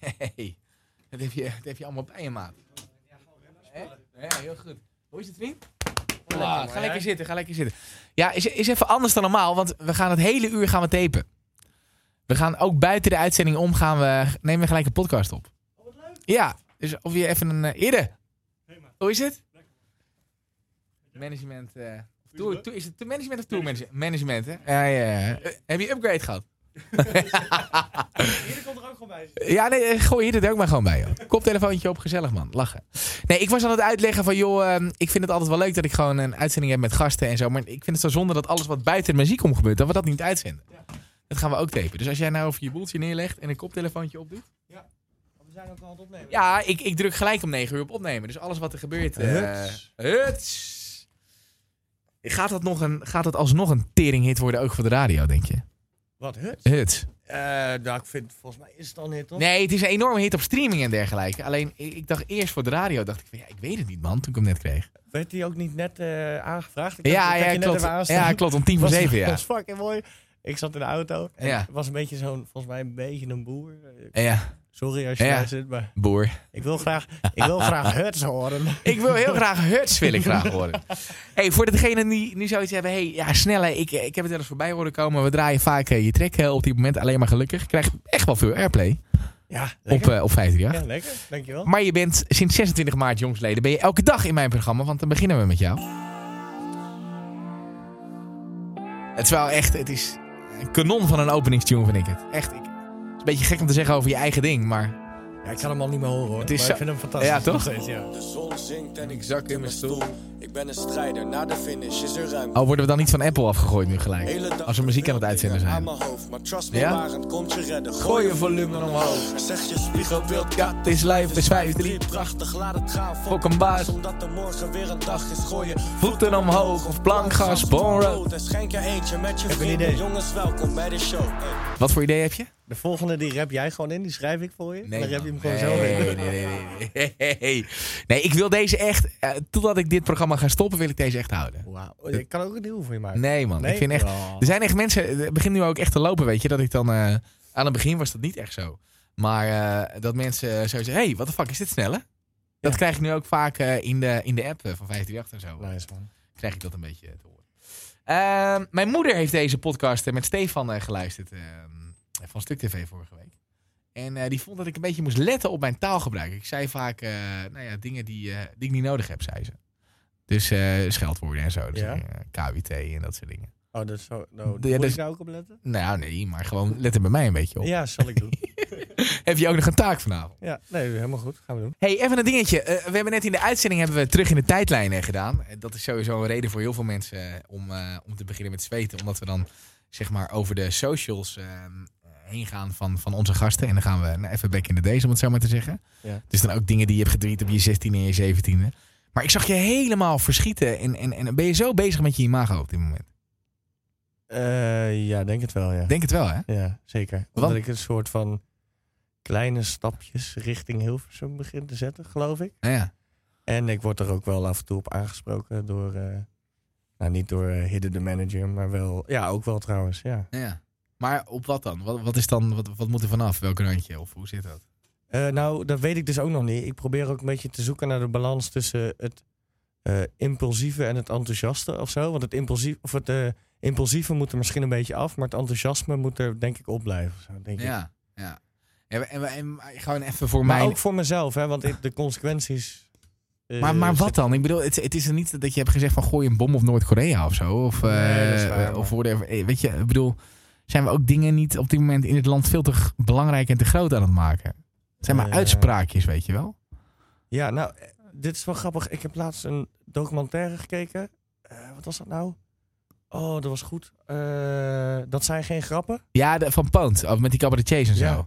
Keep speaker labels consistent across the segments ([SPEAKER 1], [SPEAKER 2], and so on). [SPEAKER 1] Hey, dat heb je, dat heb je allemaal bij je, maat. Hè? Ja, heel goed. Hoe is het, vriend?
[SPEAKER 2] Lekker,
[SPEAKER 1] Ah,
[SPEAKER 2] man,
[SPEAKER 1] ga
[SPEAKER 2] jij?
[SPEAKER 1] lekker zitten, ga lekker zitten. Ja, is, is even anders dan normaal, want we gaan het hele uur gaan we tapen. We gaan ook buiten de uitzending om, gaan we, nemen we gelijk een podcast op. Ja, dus of je even een... eh, Ide, hoe is het? Management... eh, tour, tour- is het tour management of tour management? Management, hè? Ja, ja, ja. Eh, Heb je upgrade gehad?
[SPEAKER 3] Hier komt er ook gewoon bij.
[SPEAKER 1] Ja, nee, eh, gooi hier dit ook maar gewoon bij. Joh. Koptelefoontje op, gezellig man. Lachen. Nee, ik was aan het uitleggen van, joh, ehm, ik vind het altijd wel leuk dat ik gewoon een uitzending heb met gasten en zo. Maar ik vind het zo zonde dat alles wat buiten de muziek om gebeurt, dat we dat niet uitzenden. Dat gaan we ook tapen. Dus als jij nou over je boeltje neerlegt en een koptelefoontje opdoet.
[SPEAKER 3] Want We zijn ook al aan het opnemen.
[SPEAKER 1] Ja, ik, ik druk gelijk om 9 uur op opnemen. Dus alles wat er gebeurt. eh,
[SPEAKER 2] Huts.
[SPEAKER 1] huts. Gaat dat, nog een, gaat dat alsnog een teringhit worden, ook voor de radio, denk je?
[SPEAKER 2] Wat hut?
[SPEAKER 1] Huts.
[SPEAKER 2] Eh nou, ik vind, volgens mij is het al niet, toch?
[SPEAKER 1] Nee, het is een enorme hit op streaming en dergelijke. Alleen, ik, ik dacht eerst voor de radio, dacht ik van, ja, ik weet het niet man, toen ik hem net kreeg.
[SPEAKER 2] Werd die ook niet net eh, aangevraagd? Ik
[SPEAKER 1] Ja,
[SPEAKER 2] dacht, ik
[SPEAKER 1] ja,
[SPEAKER 2] had je net even
[SPEAKER 1] klopt.
[SPEAKER 2] aanstaan.
[SPEAKER 1] Ja, klopt, om tien voor
[SPEAKER 2] was,
[SPEAKER 1] zeven, ja.
[SPEAKER 2] was fucking mooi. Ik zat in de auto en
[SPEAKER 1] Ja.
[SPEAKER 2] het was een beetje zo'n, volgens mij een beetje een boer. Eh,
[SPEAKER 1] Ja,
[SPEAKER 2] Sorry als je
[SPEAKER 1] Ja.
[SPEAKER 2] daar zit, maar
[SPEAKER 1] boer.
[SPEAKER 2] ik wil graag, ik wil graag huts horen.
[SPEAKER 1] Ik wil heel graag Huts, wil ik graag horen. Hey, voor degenen die nu zoiets hebben, hey, ja, snelle, ik, eh, ik heb het wel eens voorbij horen komen. We draaien vaak eh, je track eh, op dit moment alleen maar gelukkig. Krijgt echt wel veel airplay
[SPEAKER 2] Ja,
[SPEAKER 1] op,
[SPEAKER 2] lekker.
[SPEAKER 1] eh op 538.
[SPEAKER 2] ja, lekker. Dankjewel.
[SPEAKER 1] Maar je bent sinds 26 maart jongsleden ben je elke dag in mijn programma, want dan beginnen we met jou. Het is wel echt, het is een kanon van een openingstune vind ik het. Echt, ik, het is een beetje gek om te zeggen over je eigen ding, maar...
[SPEAKER 2] Ja, ik kan hem al niet meer horen hoor.
[SPEAKER 1] Het is
[SPEAKER 2] maar
[SPEAKER 1] zo-
[SPEAKER 2] ik vind hem fantastisch.
[SPEAKER 1] Ja, toch?
[SPEAKER 2] nog steeds, ja.
[SPEAKER 4] De zon zinkt en ik zak in mijn stoel. Ik ben een strijder, na de finish is er ruimte.
[SPEAKER 1] Oh, worden we dan niet van Apple afgegooid nu
[SPEAKER 4] Hele
[SPEAKER 1] gelijk?
[SPEAKER 4] dag
[SPEAKER 1] Als we muziek aan het uitzenden
[SPEAKER 4] Aan
[SPEAKER 1] zijn.
[SPEAKER 4] mijn hoofd, maar trust me,
[SPEAKER 1] Ja?
[SPEAKER 4] ja? komt je redden.
[SPEAKER 1] Gooi je volume omhoog.
[SPEAKER 4] Zeg je spiegelbeeld, ja,
[SPEAKER 1] Het is live, is 5-3.
[SPEAKER 4] 3 prachtig, laat het gaan.
[SPEAKER 1] Fok een baas.
[SPEAKER 4] Omdat er morgen weer een dag is. Gooi je
[SPEAKER 1] Voeten omhoog of plankgas, bonro.
[SPEAKER 4] En schenk je eentje met je
[SPEAKER 2] Heb een
[SPEAKER 4] vrienden.
[SPEAKER 2] idee.
[SPEAKER 4] Jongens, welkom bij de show. Hey.
[SPEAKER 1] Wat voor idee heb je?
[SPEAKER 2] De volgende die rap jij gewoon in, die schrijf ik voor je. Nee, dan rap je hem gewoon
[SPEAKER 1] man.
[SPEAKER 2] zo
[SPEAKER 1] nee,
[SPEAKER 2] in.
[SPEAKER 1] Nee, nee, nee, nee. Nee, Nee, ik wil deze echt... eh, totdat ik dit programma ga stoppen, wil ik deze echt houden.
[SPEAKER 2] Wauw. Ik kan ook een nieuwe voor je maken.
[SPEAKER 1] Nee, man. Ik
[SPEAKER 2] Nee?
[SPEAKER 1] vind echt...
[SPEAKER 2] Oh.
[SPEAKER 1] Er zijn echt mensen... Het begint nu ook echt te lopen, weet je. Dat ik dan... eh, aan het begin was dat niet echt zo. Maar eh, dat mensen zo zeggen... Hé, hey, wat de fuck, is dit sneller? Dat
[SPEAKER 2] Ja.
[SPEAKER 1] krijg ik nu ook vaak eh, in, de, in de app eh, van 538 en zo.
[SPEAKER 2] Nice man.
[SPEAKER 1] Krijg ik dat een beetje te horen. Ehm, mijn moeder heeft deze podcast eh, met Stefan eh, geluisterd. ehm, van Stuk TV vorige week. En eh, die vond dat ik een beetje moest letten op mijn taalgebruik. Ik zei vaak eh, nou ja, dingen die, eh, die ik niet nodig heb, zei ze. Dus eh, scheldwoorden en zo. Dus,
[SPEAKER 2] Ja.
[SPEAKER 1] eh, KWT en dat soort dingen.
[SPEAKER 2] Oh, dat is zo. Nou,
[SPEAKER 1] Ja,
[SPEAKER 2] moet
[SPEAKER 1] dus-
[SPEAKER 2] ik daar ook op letten?
[SPEAKER 1] Nou nee, maar gewoon let er bij mij een beetje op.
[SPEAKER 2] Ja, zal ik doen.
[SPEAKER 1] Heb je ook nog een taak vanavond?
[SPEAKER 2] ja, nee, helemaal goed. Gaan we doen.
[SPEAKER 1] Hey, even een dingetje. Eh, we hebben net in de uitzending hebben we terug in de tijdlijn eh, gedaan. Eh, dat is sowieso een reden voor heel veel mensen eh, om, eh, om te beginnen met zweten. Omdat we dan zeg maar over de socials eh, heen gaan van, van onze gasten. En dan gaan we nou, even back in the days, om het zo maar te zeggen.
[SPEAKER 2] Ja.
[SPEAKER 1] Dus dan ook dingen die je hebt gedreed op je 16e en je 17e. Maar ik zag je helemaal verschieten. En, en, en ben je zo bezig met je imago op dit moment?
[SPEAKER 2] Eh, ja, denk het wel, ja.
[SPEAKER 1] Denk het wel, hè?
[SPEAKER 2] Ja, zeker. Omdat ik een soort van kleine stapjes richting Hilversum begin te zetten, geloof ik.
[SPEAKER 1] Nou ja.
[SPEAKER 2] En ik word er ook wel af en toe op aangesproken door... eh, nou, niet door eh, Hidde de manager, maar wel... Ja, ook wel trouwens, ja.
[SPEAKER 1] nou ja. Maar op wat dan? Wat, wat, is dan wat, wat moet er vanaf? Welk randje? Of hoe zit dat?
[SPEAKER 2] Eh, nou, dat weet ik dus ook nog niet. Ik probeer ook een beetje te zoeken naar de balans tussen het eh, impulsieve en het enthousiaste of zo. Want het, impulsief, of het eh, impulsieve moet er misschien een beetje af, maar het enthousiasme moet er denk ik op blijven. of Zo, denk ik.
[SPEAKER 1] Ja, ja. En, we- en, we- en gewoon even voor
[SPEAKER 2] Maar
[SPEAKER 1] mij.
[SPEAKER 2] ook voor mezelf, hè, want ik- de consequenties. eh,
[SPEAKER 1] Maar, maar wat
[SPEAKER 2] zitten-
[SPEAKER 1] dan? Ik bedoel, het, het is er niet dat je hebt gezegd van gooi een bom op Noord-Korea of zo. Of, eh
[SPEAKER 2] Nee, dat is waar, man.
[SPEAKER 1] of whatever. Eh, Weet je, ik bedoel, zijn we ook dingen niet op dit moment in het land veel te g- belangrijk en te groot aan het maken? Het zijn maar
[SPEAKER 2] Eh.
[SPEAKER 1] uitspraakjes, weet je wel?
[SPEAKER 2] Ja, nou, eh, dit is wel grappig. Ik heb laatst een documentaire gekeken. Eh, wat was dat nou? Oh, dat was goed. Eh, dat zijn geen grappen.
[SPEAKER 1] Ja, de, van Pound, of met die cabaretiers en zo.
[SPEAKER 2] Ja.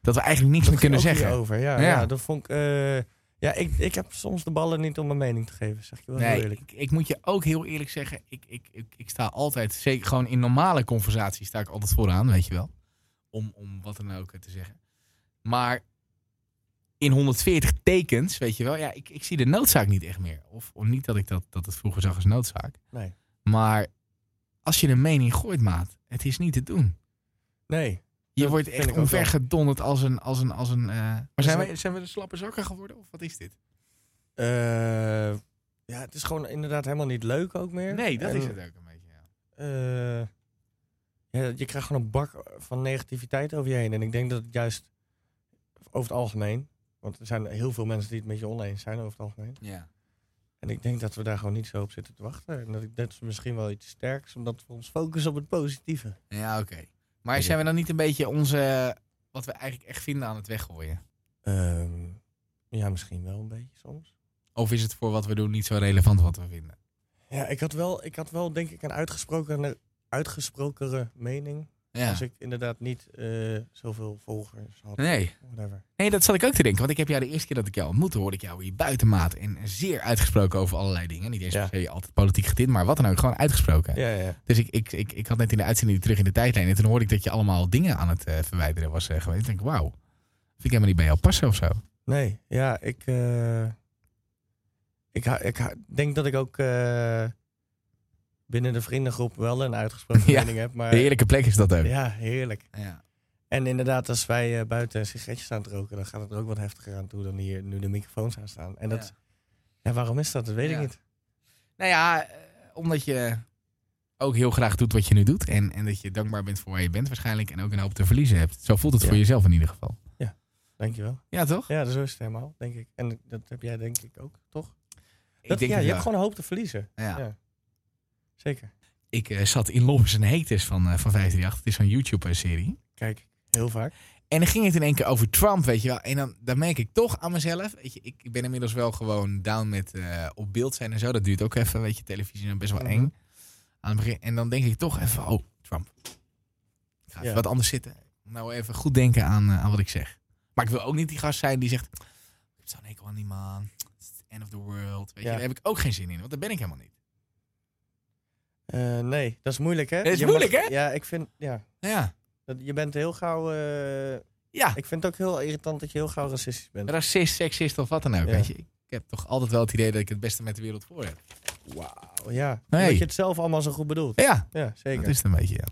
[SPEAKER 1] Dat we eigenlijk niks meer kunnen zeggen.
[SPEAKER 2] Over, ja,
[SPEAKER 1] Ja.
[SPEAKER 2] ja. dat vond ik. eh, ja, ik, ik heb soms de ballen niet om mijn mening te geven, zeg ik wel heel
[SPEAKER 1] Nee,
[SPEAKER 2] eerlijk.
[SPEAKER 1] ik, ik moet je ook heel eerlijk zeggen, ik, ik, ik, ik sta altijd, zeker gewoon in normale conversaties, sta ik altijd vooraan, weet je wel. Om, om wat dan ook eh, te zeggen. Maar in 140 tekens, weet je wel, ja, ik, ik zie de noodzaak niet echt meer. Of, of niet dat ik dat, dat het vroeger zag als noodzaak.
[SPEAKER 2] Nee.
[SPEAKER 1] Maar als je een mening gooit, maat, het is niet te doen.
[SPEAKER 2] Nee.
[SPEAKER 1] Je
[SPEAKER 2] Dat
[SPEAKER 1] wordt
[SPEAKER 2] vind
[SPEAKER 1] echt
[SPEAKER 2] ik ook wel.
[SPEAKER 1] omvergedonderd als een... Als een, als een eh, Maar
[SPEAKER 2] is
[SPEAKER 1] zijn
[SPEAKER 2] wel-
[SPEAKER 1] we, zijn we de slappe zakken geworden? Of wat is dit?
[SPEAKER 2] Eh, ja, het is gewoon inderdaad helemaal niet leuk ook meer.
[SPEAKER 1] Nee, dat
[SPEAKER 2] En,
[SPEAKER 1] is het ook een beetje. ja.
[SPEAKER 2] eh, ja, je krijgt gewoon een bak van negativiteit over je heen. En ik denk dat het juist over het algemeen... Want er zijn heel veel mensen die het met je oneens zijn over het algemeen.
[SPEAKER 1] Ja.
[SPEAKER 2] En ik denk dat we daar gewoon niet zo op zitten te wachten. En dat, ik, dat is misschien wel iets sterks, omdat we ons focussen op het positieve.
[SPEAKER 1] Ja, oké. Maar zijn we dan niet een beetje onze... Wat we eigenlijk echt vinden aan het weggooien?
[SPEAKER 2] Ehm, ja, misschien wel een beetje soms.
[SPEAKER 1] Of is het voor wat we doen niet zo relevant wat we vinden?
[SPEAKER 2] Ja, ik had wel, ik had wel denk ik een uitgesproken, uitgesprokere mening.
[SPEAKER 1] Ja.
[SPEAKER 2] Als ik inderdaad niet eh, zoveel volgers had.
[SPEAKER 1] Nee.
[SPEAKER 2] Whatever.
[SPEAKER 1] Nee, dat zat ik ook te denken. Want ik heb jou de eerste keer dat ik jou ontmoette, hoorde ik jou hier buitenmaat. En zeer uitgesproken over allerlei dingen. Niet eens
[SPEAKER 2] Ja.
[SPEAKER 1] per se altijd politiek getint, maar wat dan ook. Gewoon uitgesproken.
[SPEAKER 2] Ja, ja, ja.
[SPEAKER 1] Dus ik, ik, ik, ik had net in de uitzending terug in de tijdlijn. En toen hoorde ik dat je allemaal dingen aan het eh, verwijderen was eh, geweest. Ik denk, wauw. Vind ik helemaal niet bij jou passen of zo.
[SPEAKER 2] Nee, ja, ik, eh, ik, ha- ik ha- denk dat ik ook eh, binnen de vriendengroep wel een uitgesproken
[SPEAKER 1] Ja,
[SPEAKER 2] mening heb. Maar,
[SPEAKER 1] De heerlijke plek is dat ook.
[SPEAKER 2] Eh, Ja, heerlijk.
[SPEAKER 1] Ja.
[SPEAKER 2] En inderdaad, als wij eh, buiten sigaretjes aan het roken, dan gaat het er ook wat heftiger aan toe dan hier nu de microfoons aan staan. En dat,
[SPEAKER 1] Ja.
[SPEAKER 2] ja. waarom is dat? Dat weet
[SPEAKER 1] Ja.
[SPEAKER 2] ik niet.
[SPEAKER 1] Nou ja, eh, omdat je ook heel graag doet wat je nu doet. En, en dat je dankbaar bent voor waar je bent waarschijnlijk. En ook een hoop te verliezen hebt. Zo voelt het
[SPEAKER 2] Ja.
[SPEAKER 1] voor jezelf in ieder geval.
[SPEAKER 2] Dankjewel.
[SPEAKER 1] Ja, toch?
[SPEAKER 2] Ja, zo is het helemaal, denk ik. En dat heb jij denk ik ook, toch?
[SPEAKER 1] Ik
[SPEAKER 2] Dat-
[SPEAKER 1] denk het
[SPEAKER 2] ja, je
[SPEAKER 1] wel.
[SPEAKER 2] hebt gewoon een hoop te verliezen.
[SPEAKER 1] Ja.
[SPEAKER 2] Ja. Zeker.
[SPEAKER 1] Ik eh, zat in Lovers en Haters van, eh, van 538. Het is zo'n YouTube-serie.
[SPEAKER 2] Kijk, heel vaak.
[SPEAKER 1] En dan ging het in één keer over Trump, weet je wel. En dan, dan merk ik toch aan mezelf. Weet je, ik, ik ben inmiddels wel gewoon down met eh, op beeld zijn en zo. Dat duurt ook even, weet je. Televisie is nou best wel
[SPEAKER 2] Mhm.
[SPEAKER 1] eng. Aan het begin. En dan denk ik toch even, oh, Trump. Ik ga even
[SPEAKER 2] Ja.
[SPEAKER 1] wat anders zitten. Nou even goed denken aan, eh, aan wat ik zeg. Maar ik wil ook niet die gast zijn die zegt... Ik heb zo'n hekel aan die man. It's the end of the world. Weet
[SPEAKER 2] Ja.
[SPEAKER 1] je, daar heb ik ook geen zin in. Want daar ben ik helemaal niet.
[SPEAKER 2] Eh, nee, dat is moeilijk, hè?
[SPEAKER 1] Dat is
[SPEAKER 2] Je mag-
[SPEAKER 1] moeilijk, hè?
[SPEAKER 2] Ja, ik vind... Ja,
[SPEAKER 1] Nou Ja,
[SPEAKER 2] dat, je bent heel gauw... eh,
[SPEAKER 1] ja.
[SPEAKER 2] ik vind het ook heel irritant dat je heel gauw racistisch bent.
[SPEAKER 1] racist, seksist of wat dan ook.
[SPEAKER 2] Ja.
[SPEAKER 1] Weet je? Ik heb toch altijd wel het idee dat ik het beste met de wereld voor heb.
[SPEAKER 2] Wauw, ja.
[SPEAKER 1] Nee.
[SPEAKER 2] Dat je het zelf allemaal zo goed bedoelt.
[SPEAKER 1] Ja,
[SPEAKER 2] Ja, zeker.
[SPEAKER 1] dat is het een beetje. Ja.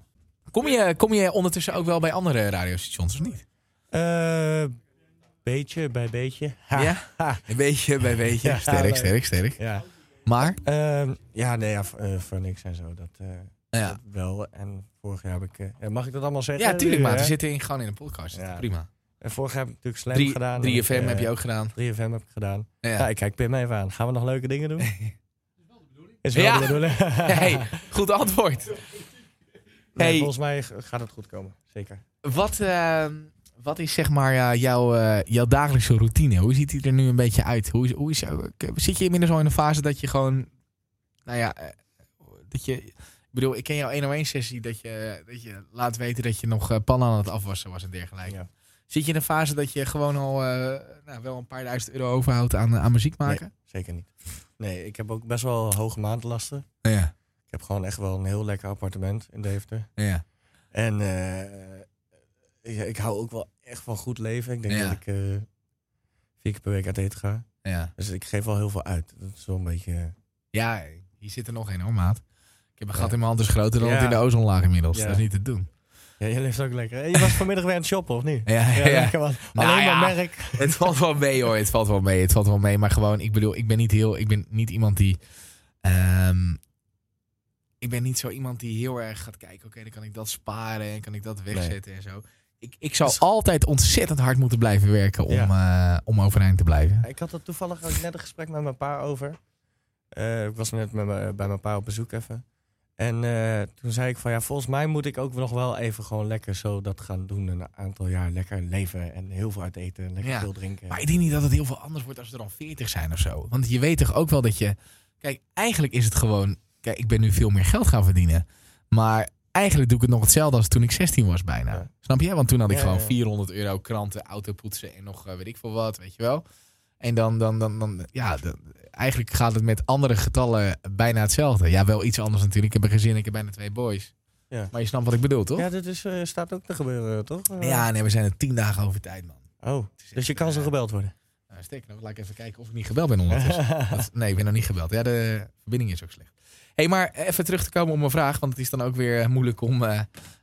[SPEAKER 1] Kom, je, kom je ondertussen ook wel bij andere radiostations of niet?
[SPEAKER 2] Eh, beetje bij beetje. Ha.
[SPEAKER 1] Ja, een beetje bij beetje.
[SPEAKER 2] Ja,
[SPEAKER 1] sterk,
[SPEAKER 2] leuk.
[SPEAKER 1] sterk, sterk.
[SPEAKER 2] Ja.
[SPEAKER 1] Maar,
[SPEAKER 2] Ehm, ja, nee, ja, v- eh, voor niks en zo. Dat, eh,
[SPEAKER 1] ja,
[SPEAKER 2] dat wel. En vorig jaar heb ik... eh, ja, mag ik dat allemaal zeggen?
[SPEAKER 1] ja tuurlijk,
[SPEAKER 2] Nu,
[SPEAKER 1] maar
[SPEAKER 2] hè?
[SPEAKER 1] we zitten in, gewoon in een podcast.
[SPEAKER 2] Ja.
[SPEAKER 1] Prima.
[SPEAKER 2] En vorig jaar heb ik eh, natuurlijk Slam
[SPEAKER 1] 3,
[SPEAKER 2] gedaan.
[SPEAKER 1] 3FM heb je ook gedaan.
[SPEAKER 2] 3FM heb ik gedaan.
[SPEAKER 1] Ja.
[SPEAKER 2] Ja, ik kijk Pim even aan. Gaan we nog leuke dingen doen? Is
[SPEAKER 1] Ja.
[SPEAKER 2] wel de bedoeling.
[SPEAKER 1] Hey, goed antwoord.
[SPEAKER 2] Nee,
[SPEAKER 1] Hey.
[SPEAKER 2] Volgens mij g- gaat het goed komen. Zeker.
[SPEAKER 1] Wat, eh, wat is zeg maar eh, jouw, eh, jouw dagelijkse routine? Hoe ziet die er nu een beetje uit? Hoe is, hoe is, eh, k- zit je inmiddels al in een fase dat je gewoon, nou ja, eh, dat je, ik bedoel, ik ken jouw 101 sessie dat je, dat je laat weten dat je nog eh, pannen aan het afwassen was en dergelijke.
[SPEAKER 2] Ja.
[SPEAKER 1] Zit je in een fase dat je gewoon al eh, nou, wel een paar duizend euro overhoudt aan, eh, aan muziek maken?
[SPEAKER 2] Zeker niet. Nee, ik heb ook best wel hoge maandlasten.
[SPEAKER 1] Ja,
[SPEAKER 2] Ik heb gewoon echt wel een heel lekker appartement in Deventer.
[SPEAKER 1] ja.
[SPEAKER 2] En eh, ik, ik hou ook wel echt van goed leven. Ik denk
[SPEAKER 1] Ja.
[SPEAKER 2] dat ik eh, vier keer per week uit eten ga.
[SPEAKER 1] ja.
[SPEAKER 2] Dus ik geef wel heel veel uit. Dat is wel een beetje... eh,
[SPEAKER 1] Ja, hier zit er nog een hoor, maat. Ik heb een
[SPEAKER 2] Ja.
[SPEAKER 1] gat in mijn hand, is groter dan
[SPEAKER 2] Ja.
[SPEAKER 1] het in de ozonlaag inmiddels.
[SPEAKER 2] Ja.
[SPEAKER 1] Dat is niet te doen.
[SPEAKER 2] Ja, je leeft ook lekker. hè? Je was vanmiddag weer aan het shoppen, of niet?
[SPEAKER 1] ja. ja.
[SPEAKER 2] lekker man.
[SPEAKER 1] Nou
[SPEAKER 2] Alleen maar
[SPEAKER 1] ja.
[SPEAKER 2] merk.
[SPEAKER 1] Het valt wel mee hoor, het valt wel mee, het valt wel mee. Maar gewoon, ik bedoel, ik ben niet heel, ik ben niet iemand die, ehm, ik ben niet zo iemand die heel erg gaat kijken, oké, dan kan ik dat sparen en kan ik dat wegzetten en zo. Ik, ik zou
[SPEAKER 2] Dus-
[SPEAKER 1] altijd ontzettend hard moeten blijven werken om, eh, om overeind te blijven.
[SPEAKER 2] Ik had dat toevallig ook net een gesprek met mijn pa over. Eh, ik was net met mijn- bij mijn pa op bezoek even. En eh, toen zei ik van ja, volgens mij moet ik ook nog wel even gewoon lekker zo dat gaan doen. Een aantal jaar lekker leven en heel veel uit eten en lekker
[SPEAKER 1] Ja.
[SPEAKER 2] veel drinken.
[SPEAKER 1] Maar ik denk niet dat het heel veel anders wordt als we er dan 40 zijn of zo. Want je weet toch ook wel dat je. Kijk, eigenlijk is het gewoon. Kijk, ik ben nu veel meer geld gaan verdienen. Maar eigenlijk doe ik het nog hetzelfde als toen ik 16 was bijna.
[SPEAKER 2] Ja.
[SPEAKER 1] Snap je? Want toen had ik
[SPEAKER 2] Ja,
[SPEAKER 1] gewoon
[SPEAKER 2] ja, ja.
[SPEAKER 1] 400 euro kranten, auto poetsen en nog eh, weet ik veel wat, weet je wel. En dan, dan, dan, dan ja, dan- eigenlijk gaat het met andere getallen bijna hetzelfde. Ja, wel iets anders natuurlijk. Ik heb een gezin, ik heb bijna twee boys.
[SPEAKER 2] Ja.
[SPEAKER 1] Maar je snapt wat ik bedoel, toch? Ja,
[SPEAKER 2] Ja, dit is, eh, staat ook te gebeuren, toch? Eh,
[SPEAKER 1] nee, we zijn er tien dagen over tijd, man.
[SPEAKER 2] Oh,
[SPEAKER 1] Het is
[SPEAKER 2] dus je
[SPEAKER 1] echt,
[SPEAKER 2] kan zo
[SPEAKER 1] eh,
[SPEAKER 2] gebeld worden.
[SPEAKER 1] nou, Sterker nog, laat ik even kijken of ik niet gebeld ben ondertussen. Dat- nee, ik ben nog niet gebeld. Ja, de verbinding is ook slecht. hey, maar even terug te komen op mijn vraag, want het is dan ook weer eh, moeilijk om eh,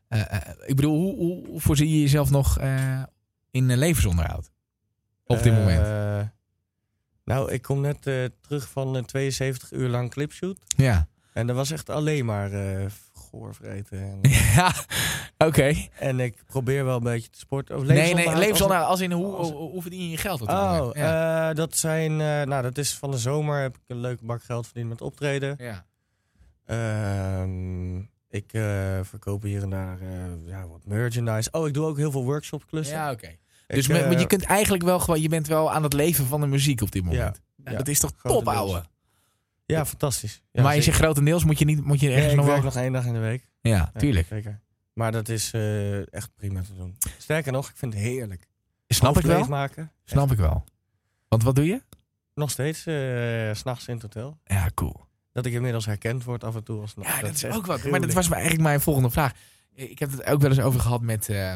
[SPEAKER 1] eh, eh, ik bedoel, hoe, hoe- hoe voorzie je jezelf nog eh, in eh, levensonderhoud? Op dit moment.
[SPEAKER 2] Eh, nou, ik kom net eh, terug van een 72 uur lang clipshoot.
[SPEAKER 1] Ja.
[SPEAKER 2] En dat was echt alleen maar eh goorvreten. En,
[SPEAKER 1] ja, oké.
[SPEAKER 2] en ik probeer wel een beetje te sporten. Of
[SPEAKER 1] Nee, nee,
[SPEAKER 2] levensonderhoud als-
[SPEAKER 1] levensonderhoud als in hoe,
[SPEAKER 2] als-
[SPEAKER 1] hoe, hoe verdien je je geld? op dit
[SPEAKER 2] Oh,
[SPEAKER 1] moment? ja.
[SPEAKER 2] eh, dat zijn... eh, nou, dat is van de zomer heb ik een leuke bak geld verdiend met optreden.
[SPEAKER 1] ja.
[SPEAKER 2] Ehm, ik eh, verkoop hier en daar eh, ja, wat merchandise. Oh, ik doe ook heel veel workshopklussen.
[SPEAKER 1] Ja, oké.
[SPEAKER 2] Ik,
[SPEAKER 1] Dus me-
[SPEAKER 2] eh,
[SPEAKER 1] maar je kunt eigenlijk wel gewoon, je bent wel aan het leven van de muziek op dit moment. Ja,
[SPEAKER 2] ja,
[SPEAKER 1] dat is toch top,
[SPEAKER 2] grotendeels.
[SPEAKER 1] ouwe.
[SPEAKER 2] Ja, fantastisch.
[SPEAKER 1] maar
[SPEAKER 2] Ja,
[SPEAKER 1] je
[SPEAKER 2] zeker.
[SPEAKER 1] zegt grotendeels moet je niet, moet je
[SPEAKER 2] Nee,
[SPEAKER 1] ergens
[SPEAKER 2] ik
[SPEAKER 1] nog wel.
[SPEAKER 2] werk nog één dag in de week.
[SPEAKER 1] Ja,
[SPEAKER 2] Ja,
[SPEAKER 1] tuurlijk.
[SPEAKER 2] Zeker. Maar dat is eh, echt prima te doen. Sterker nog, ik vind het heerlijk.
[SPEAKER 1] Snap ik
[SPEAKER 2] Hoofdlees
[SPEAKER 1] wel.
[SPEAKER 2] maken.
[SPEAKER 1] Snap ik wel. Want wat doe je?
[SPEAKER 2] Nog steeds eh, s s'nachts in het hotel.
[SPEAKER 1] Ja, cool.
[SPEAKER 2] Dat ik inmiddels herkend word af en toe. Als,
[SPEAKER 1] Ja, Nou, dat is
[SPEAKER 2] echt
[SPEAKER 1] ook wat. Maar dat
[SPEAKER 2] gruwelijk.
[SPEAKER 1] was maar eigenlijk mijn volgende vraag. Ik heb het ook wel eens over gehad met. eh,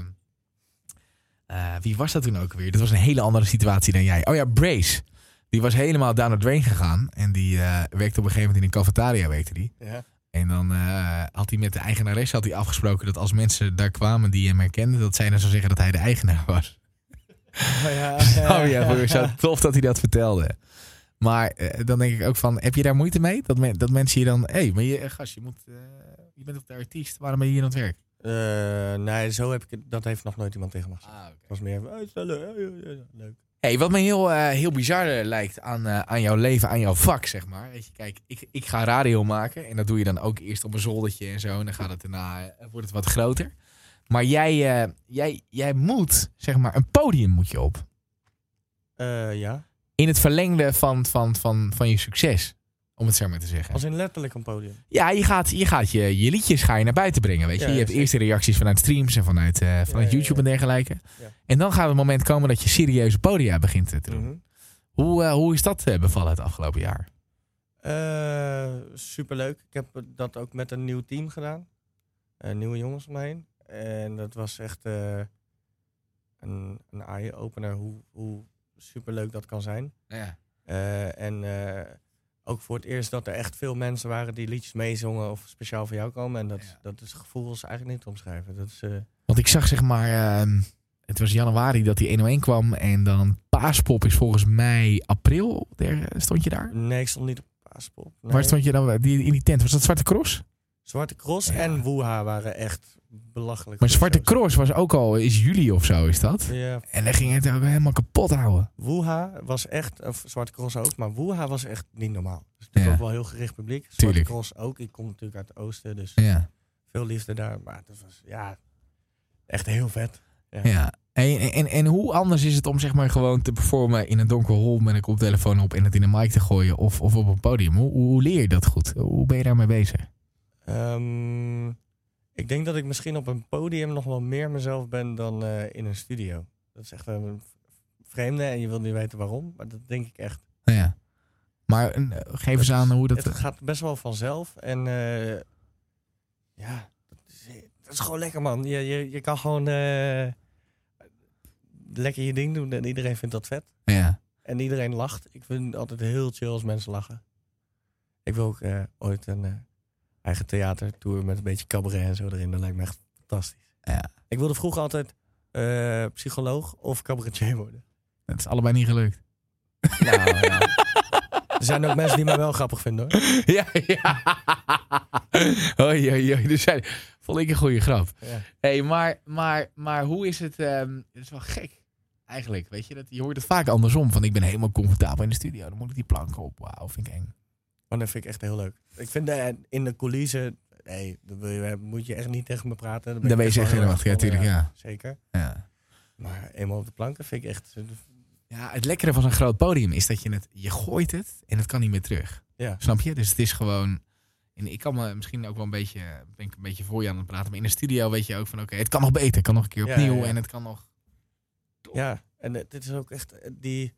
[SPEAKER 1] eh, wie was dat toen ook weer? Dat was een hele andere situatie dan jij. Oh ja, Brace. Die was helemaal down the drain gegaan. En die eh, werkte op een gegeven moment in een cafetaria, werkte die.
[SPEAKER 2] Ja.
[SPEAKER 1] En dan eh, had hij met de eigenares had hij afgesproken dat als mensen daar kwamen die hem herkenden, dat zij dan zou zeggen dat hij de eigenaar was.
[SPEAKER 2] Maar ja,
[SPEAKER 1] Oh ja, voor zo tof dat hij dat vertelde. Maar eh, dan denk ik ook van, heb je daar moeite mee? Dat, men- dat mensen je dan, hé, hey, maar je, eh, gast, je, moet, eh, je bent op de artiest, waarom ben je hier aan het werk?
[SPEAKER 2] Eh, nee, zo heb ik het- Dat heeft nog nooit iemand tegen me gezegd.
[SPEAKER 1] Ah, oké.
[SPEAKER 2] Het was meer van, oh, is wel leuk. oh, ja, ja, ja, leuk.
[SPEAKER 1] Hey, wat me heel, eh, heel bizar eh, lijkt aan, eh, aan jouw leven, aan jouw vak, zeg maar. Weet je, kijk, ik, ik ga radio maken. En dat doe je dan ook eerst op een zoldertje en zo. En dan gaat het daarna, eh, wordt het wat groter. Maar jij, eh, jij, jij moet, zeg maar, een podium moet je op.
[SPEAKER 2] Eh, ja,
[SPEAKER 1] In het verlengde van, van, van, van je succes. Om het zo maar te zeggen.
[SPEAKER 2] als in letterlijk een podium.
[SPEAKER 1] Ja, je gaat je, gaat je, je liedjes ga je naar buiten brengen. Weet je?
[SPEAKER 2] Ja,
[SPEAKER 1] je hebt
[SPEAKER 2] zeker.
[SPEAKER 1] eerst de reacties vanuit streams en vanuit, eh, vanuit
[SPEAKER 2] Ja, ja, ja.
[SPEAKER 1] YouTube en dergelijke.
[SPEAKER 2] Ja.
[SPEAKER 1] En dan gaat het moment komen dat je serieuze podia begint eh, te doen.
[SPEAKER 2] Mhm.
[SPEAKER 1] Hoe, eh, hoe is dat eh, bevallen het afgelopen jaar?
[SPEAKER 2] Eh, superleuk. Ik heb dat ook met een nieuw team gedaan. Eh, nieuwe jongens om me heen. En dat was echt eh, een, een eye-opener hoe, hoe superleuk dat kan zijn.
[SPEAKER 1] Nou Ja.
[SPEAKER 2] Eh, en eh, ook voor het eerst dat er echt veel mensen waren die liedjes meezongen of speciaal voor jou komen. En dat,
[SPEAKER 1] Ja.
[SPEAKER 2] dat is gevoel is eigenlijk niet te omschrijven. Dat is, eh,
[SPEAKER 1] Want ik zag zeg maar, ehm, het was januari dat die 101 kwam. En dan Paaspop is volgens mij april. Daar eh, stond je daar?
[SPEAKER 2] nee, ik stond niet op Paaspop. Nee.
[SPEAKER 1] Waar stond je dan? Die, in die tent. Was dat Zwarte Cross?
[SPEAKER 2] Zwarte Cross
[SPEAKER 1] Ja.
[SPEAKER 2] en Woeha waren echt belachelijk.
[SPEAKER 1] Maar
[SPEAKER 2] goed
[SPEAKER 1] Zwarte
[SPEAKER 2] shows.
[SPEAKER 1] Cross was ook al, is juli of zo is dat.
[SPEAKER 2] Ja,
[SPEAKER 1] En daar ging het ook helemaal kapot houden.
[SPEAKER 2] Woeha was echt, of Zwarte Cross ook, maar Woeha was echt niet normaal.
[SPEAKER 1] Ja.
[SPEAKER 2] Dus natuurlijk ook wel heel gericht publiek. Zwarte
[SPEAKER 1] Tuurlijk.
[SPEAKER 2] Cross ook. Ik kom natuurlijk uit het oosten, dus
[SPEAKER 1] Ja.
[SPEAKER 2] veel liefde daar. Maar dat was, ja, echt heel vet.
[SPEAKER 1] ja. En, en, en hoe anders is het om zeg maar gewoon te performen in een donker hol met een koptelefoon op en het in een mic te gooien of, of op een podium? Hoe, hoe leer je dat goed? Hoe ben je daarmee bezig?
[SPEAKER 2] Ehm, ik denk dat ik misschien op een podium nog wel meer mezelf ben dan eh, in een studio. Dat is echt een vreemde en je wilt niet weten waarom, maar dat denk ik echt.
[SPEAKER 1] Nou ja. Maar eh, geef eens
[SPEAKER 2] is-
[SPEAKER 1] aan hoe dat.
[SPEAKER 2] Het gaat best wel vanzelf en eh, ja, dat is, dat is gewoon lekker man. Je, je, je kan gewoon eh, lekker je ding doen en iedereen vindt dat vet.
[SPEAKER 1] Ja.
[SPEAKER 2] En iedereen lacht. Ik vind het altijd heel chill als mensen lachen. Ik wil ook eh, ooit een eh, eigen theatertour met een beetje cabaret en zo erin. Dat lijkt me echt fantastisch.
[SPEAKER 1] Ja.
[SPEAKER 2] Ik wilde vroeger altijd eh, psycholoog of cabaretier worden.
[SPEAKER 1] Het is allebei niet gelukt.
[SPEAKER 2] Nou, ja. Er zijn ook mensen die mij wel grappig vinden hoor.
[SPEAKER 1] ja, ja. Oei, oei, oei. Dus zijn, vond ik een goede grap.
[SPEAKER 2] Ja.
[SPEAKER 1] hey, maar, maar, maar hoe is het? ehm, het is wel gek. Eigenlijk, weet je, dat, je hoort het vaak andersom. Van ik ben helemaal comfortabel in de studio. Dan moet ik die planken op. Wauw, vind ik eng.
[SPEAKER 2] Maar dat vind ik echt heel leuk. Ik vind eh, in de coulissen, nee, dan wil je- eh, moet je echt niet tegen me praten. Dan
[SPEAKER 1] Dan ben je
[SPEAKER 2] echt wel
[SPEAKER 1] zeker
[SPEAKER 2] heel
[SPEAKER 1] zenuwachtig, ja,
[SPEAKER 2] gespannen,
[SPEAKER 1] natuurlijk. Ja.
[SPEAKER 2] Zeker.
[SPEAKER 1] Ja.
[SPEAKER 2] Maar eenmaal op de planken vind ik echt...
[SPEAKER 1] ja, het lekkere van zo'n groot podium is dat je het, je gooit het en het kan niet meer terug.
[SPEAKER 2] Ja.
[SPEAKER 1] Snap je? Dus het is gewoon, en ik kan me misschien ook wel een beetje, ben ik een beetje voor je aan het praten, maar in de studio weet je ook van, oké, het kan nog beter, het kan nog een keer
[SPEAKER 2] Ja,
[SPEAKER 1] opnieuw
[SPEAKER 2] ja, ja.
[SPEAKER 1] en het kan nog.
[SPEAKER 2] Ja, en eh, dit is ook echt eh, die.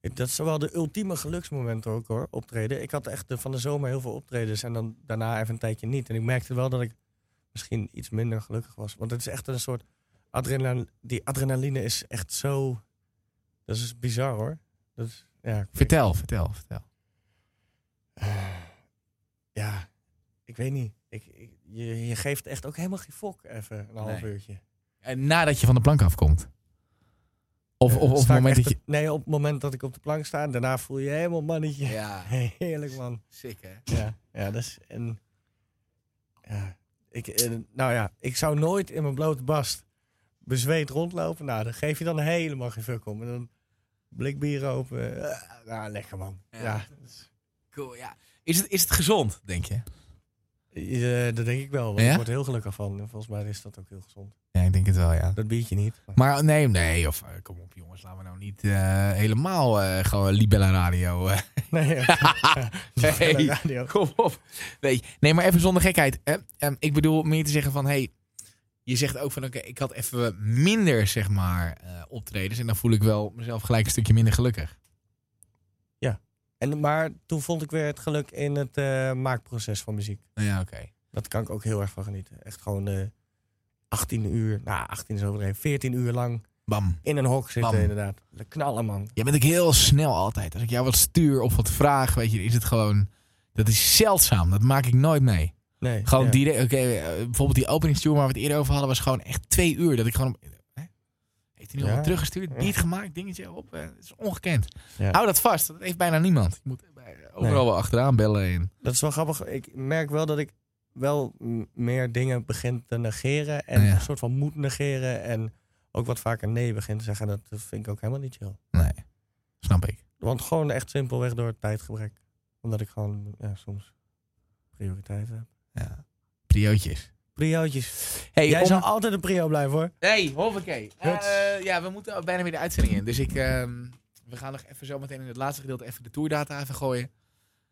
[SPEAKER 2] Dat is wel de ultieme geluksmoment ook hoor, optreden. Ik had echt de, van de zomer heel veel optredens en dan daarna even een tijdje niet. En ik merkte wel dat ik misschien iets minder gelukkig was. Want het is echt een soort adrenaline. Die adrenaline is echt zo. Dat is bizar hoor. Dat is, ja, ik weet-
[SPEAKER 1] Vertel, vertel, vertel.
[SPEAKER 2] ja, ik weet niet. Ik, ik- je, je geeft echt ook helemaal geen fok even een half
[SPEAKER 1] Nee.
[SPEAKER 2] uurtje.
[SPEAKER 1] En nadat je van de plank afkomt. Of,
[SPEAKER 2] Eh,
[SPEAKER 1] of, of het
[SPEAKER 2] sta ik
[SPEAKER 1] moment
[SPEAKER 2] echt
[SPEAKER 1] dat je...
[SPEAKER 2] te- Nee, op het moment dat ik op de plank sta, daarna voel je je helemaal mannetje.
[SPEAKER 1] Ja,
[SPEAKER 2] Heerlijk man.
[SPEAKER 1] sick hè?
[SPEAKER 2] Ja, ja dat is. En, ja, ik, eh, nou ja, ik zou nooit in mijn blote bast bezweet rondlopen. Nou, daar geef je dan helemaal geen fuck om. En dan blik bier open. Eh, nou, lekker man.
[SPEAKER 1] Ja.
[SPEAKER 2] Ja,
[SPEAKER 1] Cool, ja. Is het, is het gezond, denk je?
[SPEAKER 2] Eh, dat denk ik wel. Want
[SPEAKER 1] Ja?
[SPEAKER 2] Ik word er heel gelukkig van. En volgens mij is dat ook heel gezond.
[SPEAKER 1] Ja, ik denk het wel, ja.
[SPEAKER 2] Dat biertje niet. Maar,
[SPEAKER 1] Maar nee, nee, of eh, kom op jongens, laten we nou niet eh, helemaal eh, gewoon Libella Radio. eh.
[SPEAKER 2] nee, ja.
[SPEAKER 1] nee,
[SPEAKER 2] Radio.
[SPEAKER 1] kom op. Nee, nee, maar even zonder gekheid. hè. Ehm, ik bedoel meer te zeggen van, hey, je zegt ook van, oké, ik had even minder, zeg maar, eh, optredens. En dan voel ik wel mezelf gelijk een stukje minder gelukkig.
[SPEAKER 2] En, maar toen vond ik weer het geluk in het eh, maakproces van muziek.
[SPEAKER 1] Nou ja, oké.
[SPEAKER 2] Dat kan ik ook heel erg van genieten. Echt gewoon eh 18 uur, nou 18 is overdreven, 14 uur lang
[SPEAKER 1] Bam.
[SPEAKER 2] in een hok zitten
[SPEAKER 1] Bam.
[SPEAKER 2] inderdaad. De knallen man.
[SPEAKER 1] Jij bent ook heel snel altijd. Als ik jou wat stuur of wat vraag, weet je, is het gewoon... Dat is zeldzaam. Dat maak ik nooit mee.
[SPEAKER 2] Nee,
[SPEAKER 1] Gewoon
[SPEAKER 2] ja.
[SPEAKER 1] direct. Oké, eh, bijvoorbeeld die openingstour waar we het eerder over hadden, was gewoon echt twee uur. Dat ik gewoon. eh, Hè? Heeft hij nu al
[SPEAKER 2] Ja.
[SPEAKER 1] wat teruggestuurd?
[SPEAKER 2] Ja.
[SPEAKER 1] Beat gemaakt, dingetje op. eh, Het is ongekend.
[SPEAKER 2] Ja.
[SPEAKER 1] Hou dat vast. Dat heeft bijna niemand. Je moet eh, overal
[SPEAKER 2] Nee.
[SPEAKER 1] wel achteraan bellen. En...
[SPEAKER 2] Dat is wel grappig. Ik merk wel dat ik wel m- meer dingen begin te negeren en
[SPEAKER 1] Nou Ja.
[SPEAKER 2] een soort van moet negeren en ook wat vaker nee begin te zeggen. Dat vind ik ook helemaal niet chill.
[SPEAKER 1] Nee, snap ik.
[SPEAKER 2] Want gewoon echt simpelweg door het tijdgebrek. Omdat ik gewoon ja, soms prioriteiten heb.
[SPEAKER 1] Ja. Priootjes.
[SPEAKER 2] Priootjes.
[SPEAKER 1] Hey,
[SPEAKER 2] Jij
[SPEAKER 1] om-
[SPEAKER 2] zal altijd een prio blijven hoor.
[SPEAKER 1] Nee, hoppakee.
[SPEAKER 2] Huts.
[SPEAKER 1] Eh, ja, we moeten ook bijna weer de uitzending in. Dus ik, ehm, we gaan nog even zo meteen in het laatste gedeelte even de tourdata even gooien.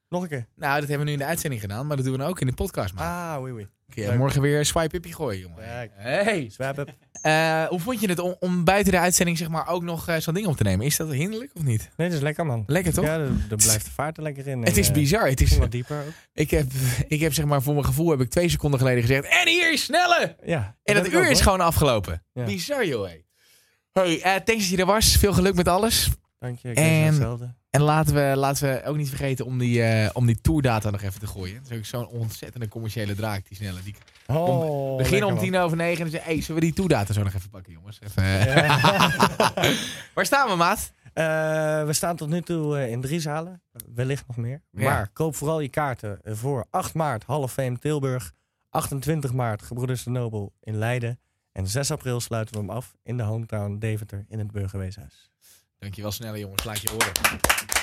[SPEAKER 2] Nog een keer.
[SPEAKER 1] Nou, dat hebben we nu in de uitzending gedaan, maar dat doen we ook in de podcast. Maar
[SPEAKER 2] Ah, oui, oui.
[SPEAKER 1] Kun je
[SPEAKER 2] leuk.
[SPEAKER 1] morgen weer swipe-upje gooien, jongen.
[SPEAKER 2] Ja, ik-
[SPEAKER 1] Hey.
[SPEAKER 2] Swap up.
[SPEAKER 1] Eh, hoe vond je het om, om buiten de uitzending zeg maar, ook nog eh, zo'n ding op te nemen? Is dat hinderlijk of niet?
[SPEAKER 2] Nee, dat is lekker man.
[SPEAKER 1] Lekker toch?
[SPEAKER 2] Ja, er, er blijft de vaart er lekker in. Eh,
[SPEAKER 1] het is bizar. Het is,
[SPEAKER 2] Wat dieper ook.
[SPEAKER 1] ik heb, ik heb zeg maar, voor mijn gevoel heb ik twee seconden geleden gezegd. En hier is snelle!
[SPEAKER 2] Ja,
[SPEAKER 1] En dat
[SPEAKER 2] heb ik ook,
[SPEAKER 1] uur is
[SPEAKER 2] hoor.
[SPEAKER 1] gewoon afgelopen.
[SPEAKER 2] Ja.
[SPEAKER 1] Bizar joh. hé. Hey, eh, thanks dat je er was. Veel geluk met alles.
[SPEAKER 2] Dank je, ik
[SPEAKER 1] En-
[SPEAKER 2] en... hetzelfde.
[SPEAKER 1] En laten we, laten we ook niet vergeten om die, eh, om die tourdata nog even te gooien. Dat is ook zo'n ontzettende commerciële draak, die snelle. Die
[SPEAKER 2] Oh,
[SPEAKER 1] Begin
[SPEAKER 2] lekker,
[SPEAKER 1] om
[SPEAKER 2] man.
[SPEAKER 1] tien over negen en dan zeg hey, zullen we die toedata zo nog even pakken, jongens? Even, eh. Waar staan we, maat?
[SPEAKER 2] Eh, we staan tot nu toe eh, in drie zalen. Wellicht nog meer.
[SPEAKER 1] Ja.
[SPEAKER 2] Maar koop vooral je kaarten voor 8 maart Hall of Fame Tilburg. 28 maart Gebroeders de Nobel in Leiden. En 6 april sluiten we hem af in de hometown Deventer in het Burgerweeshuis.
[SPEAKER 1] Dankjewel, snelle jongens. Laat je horen.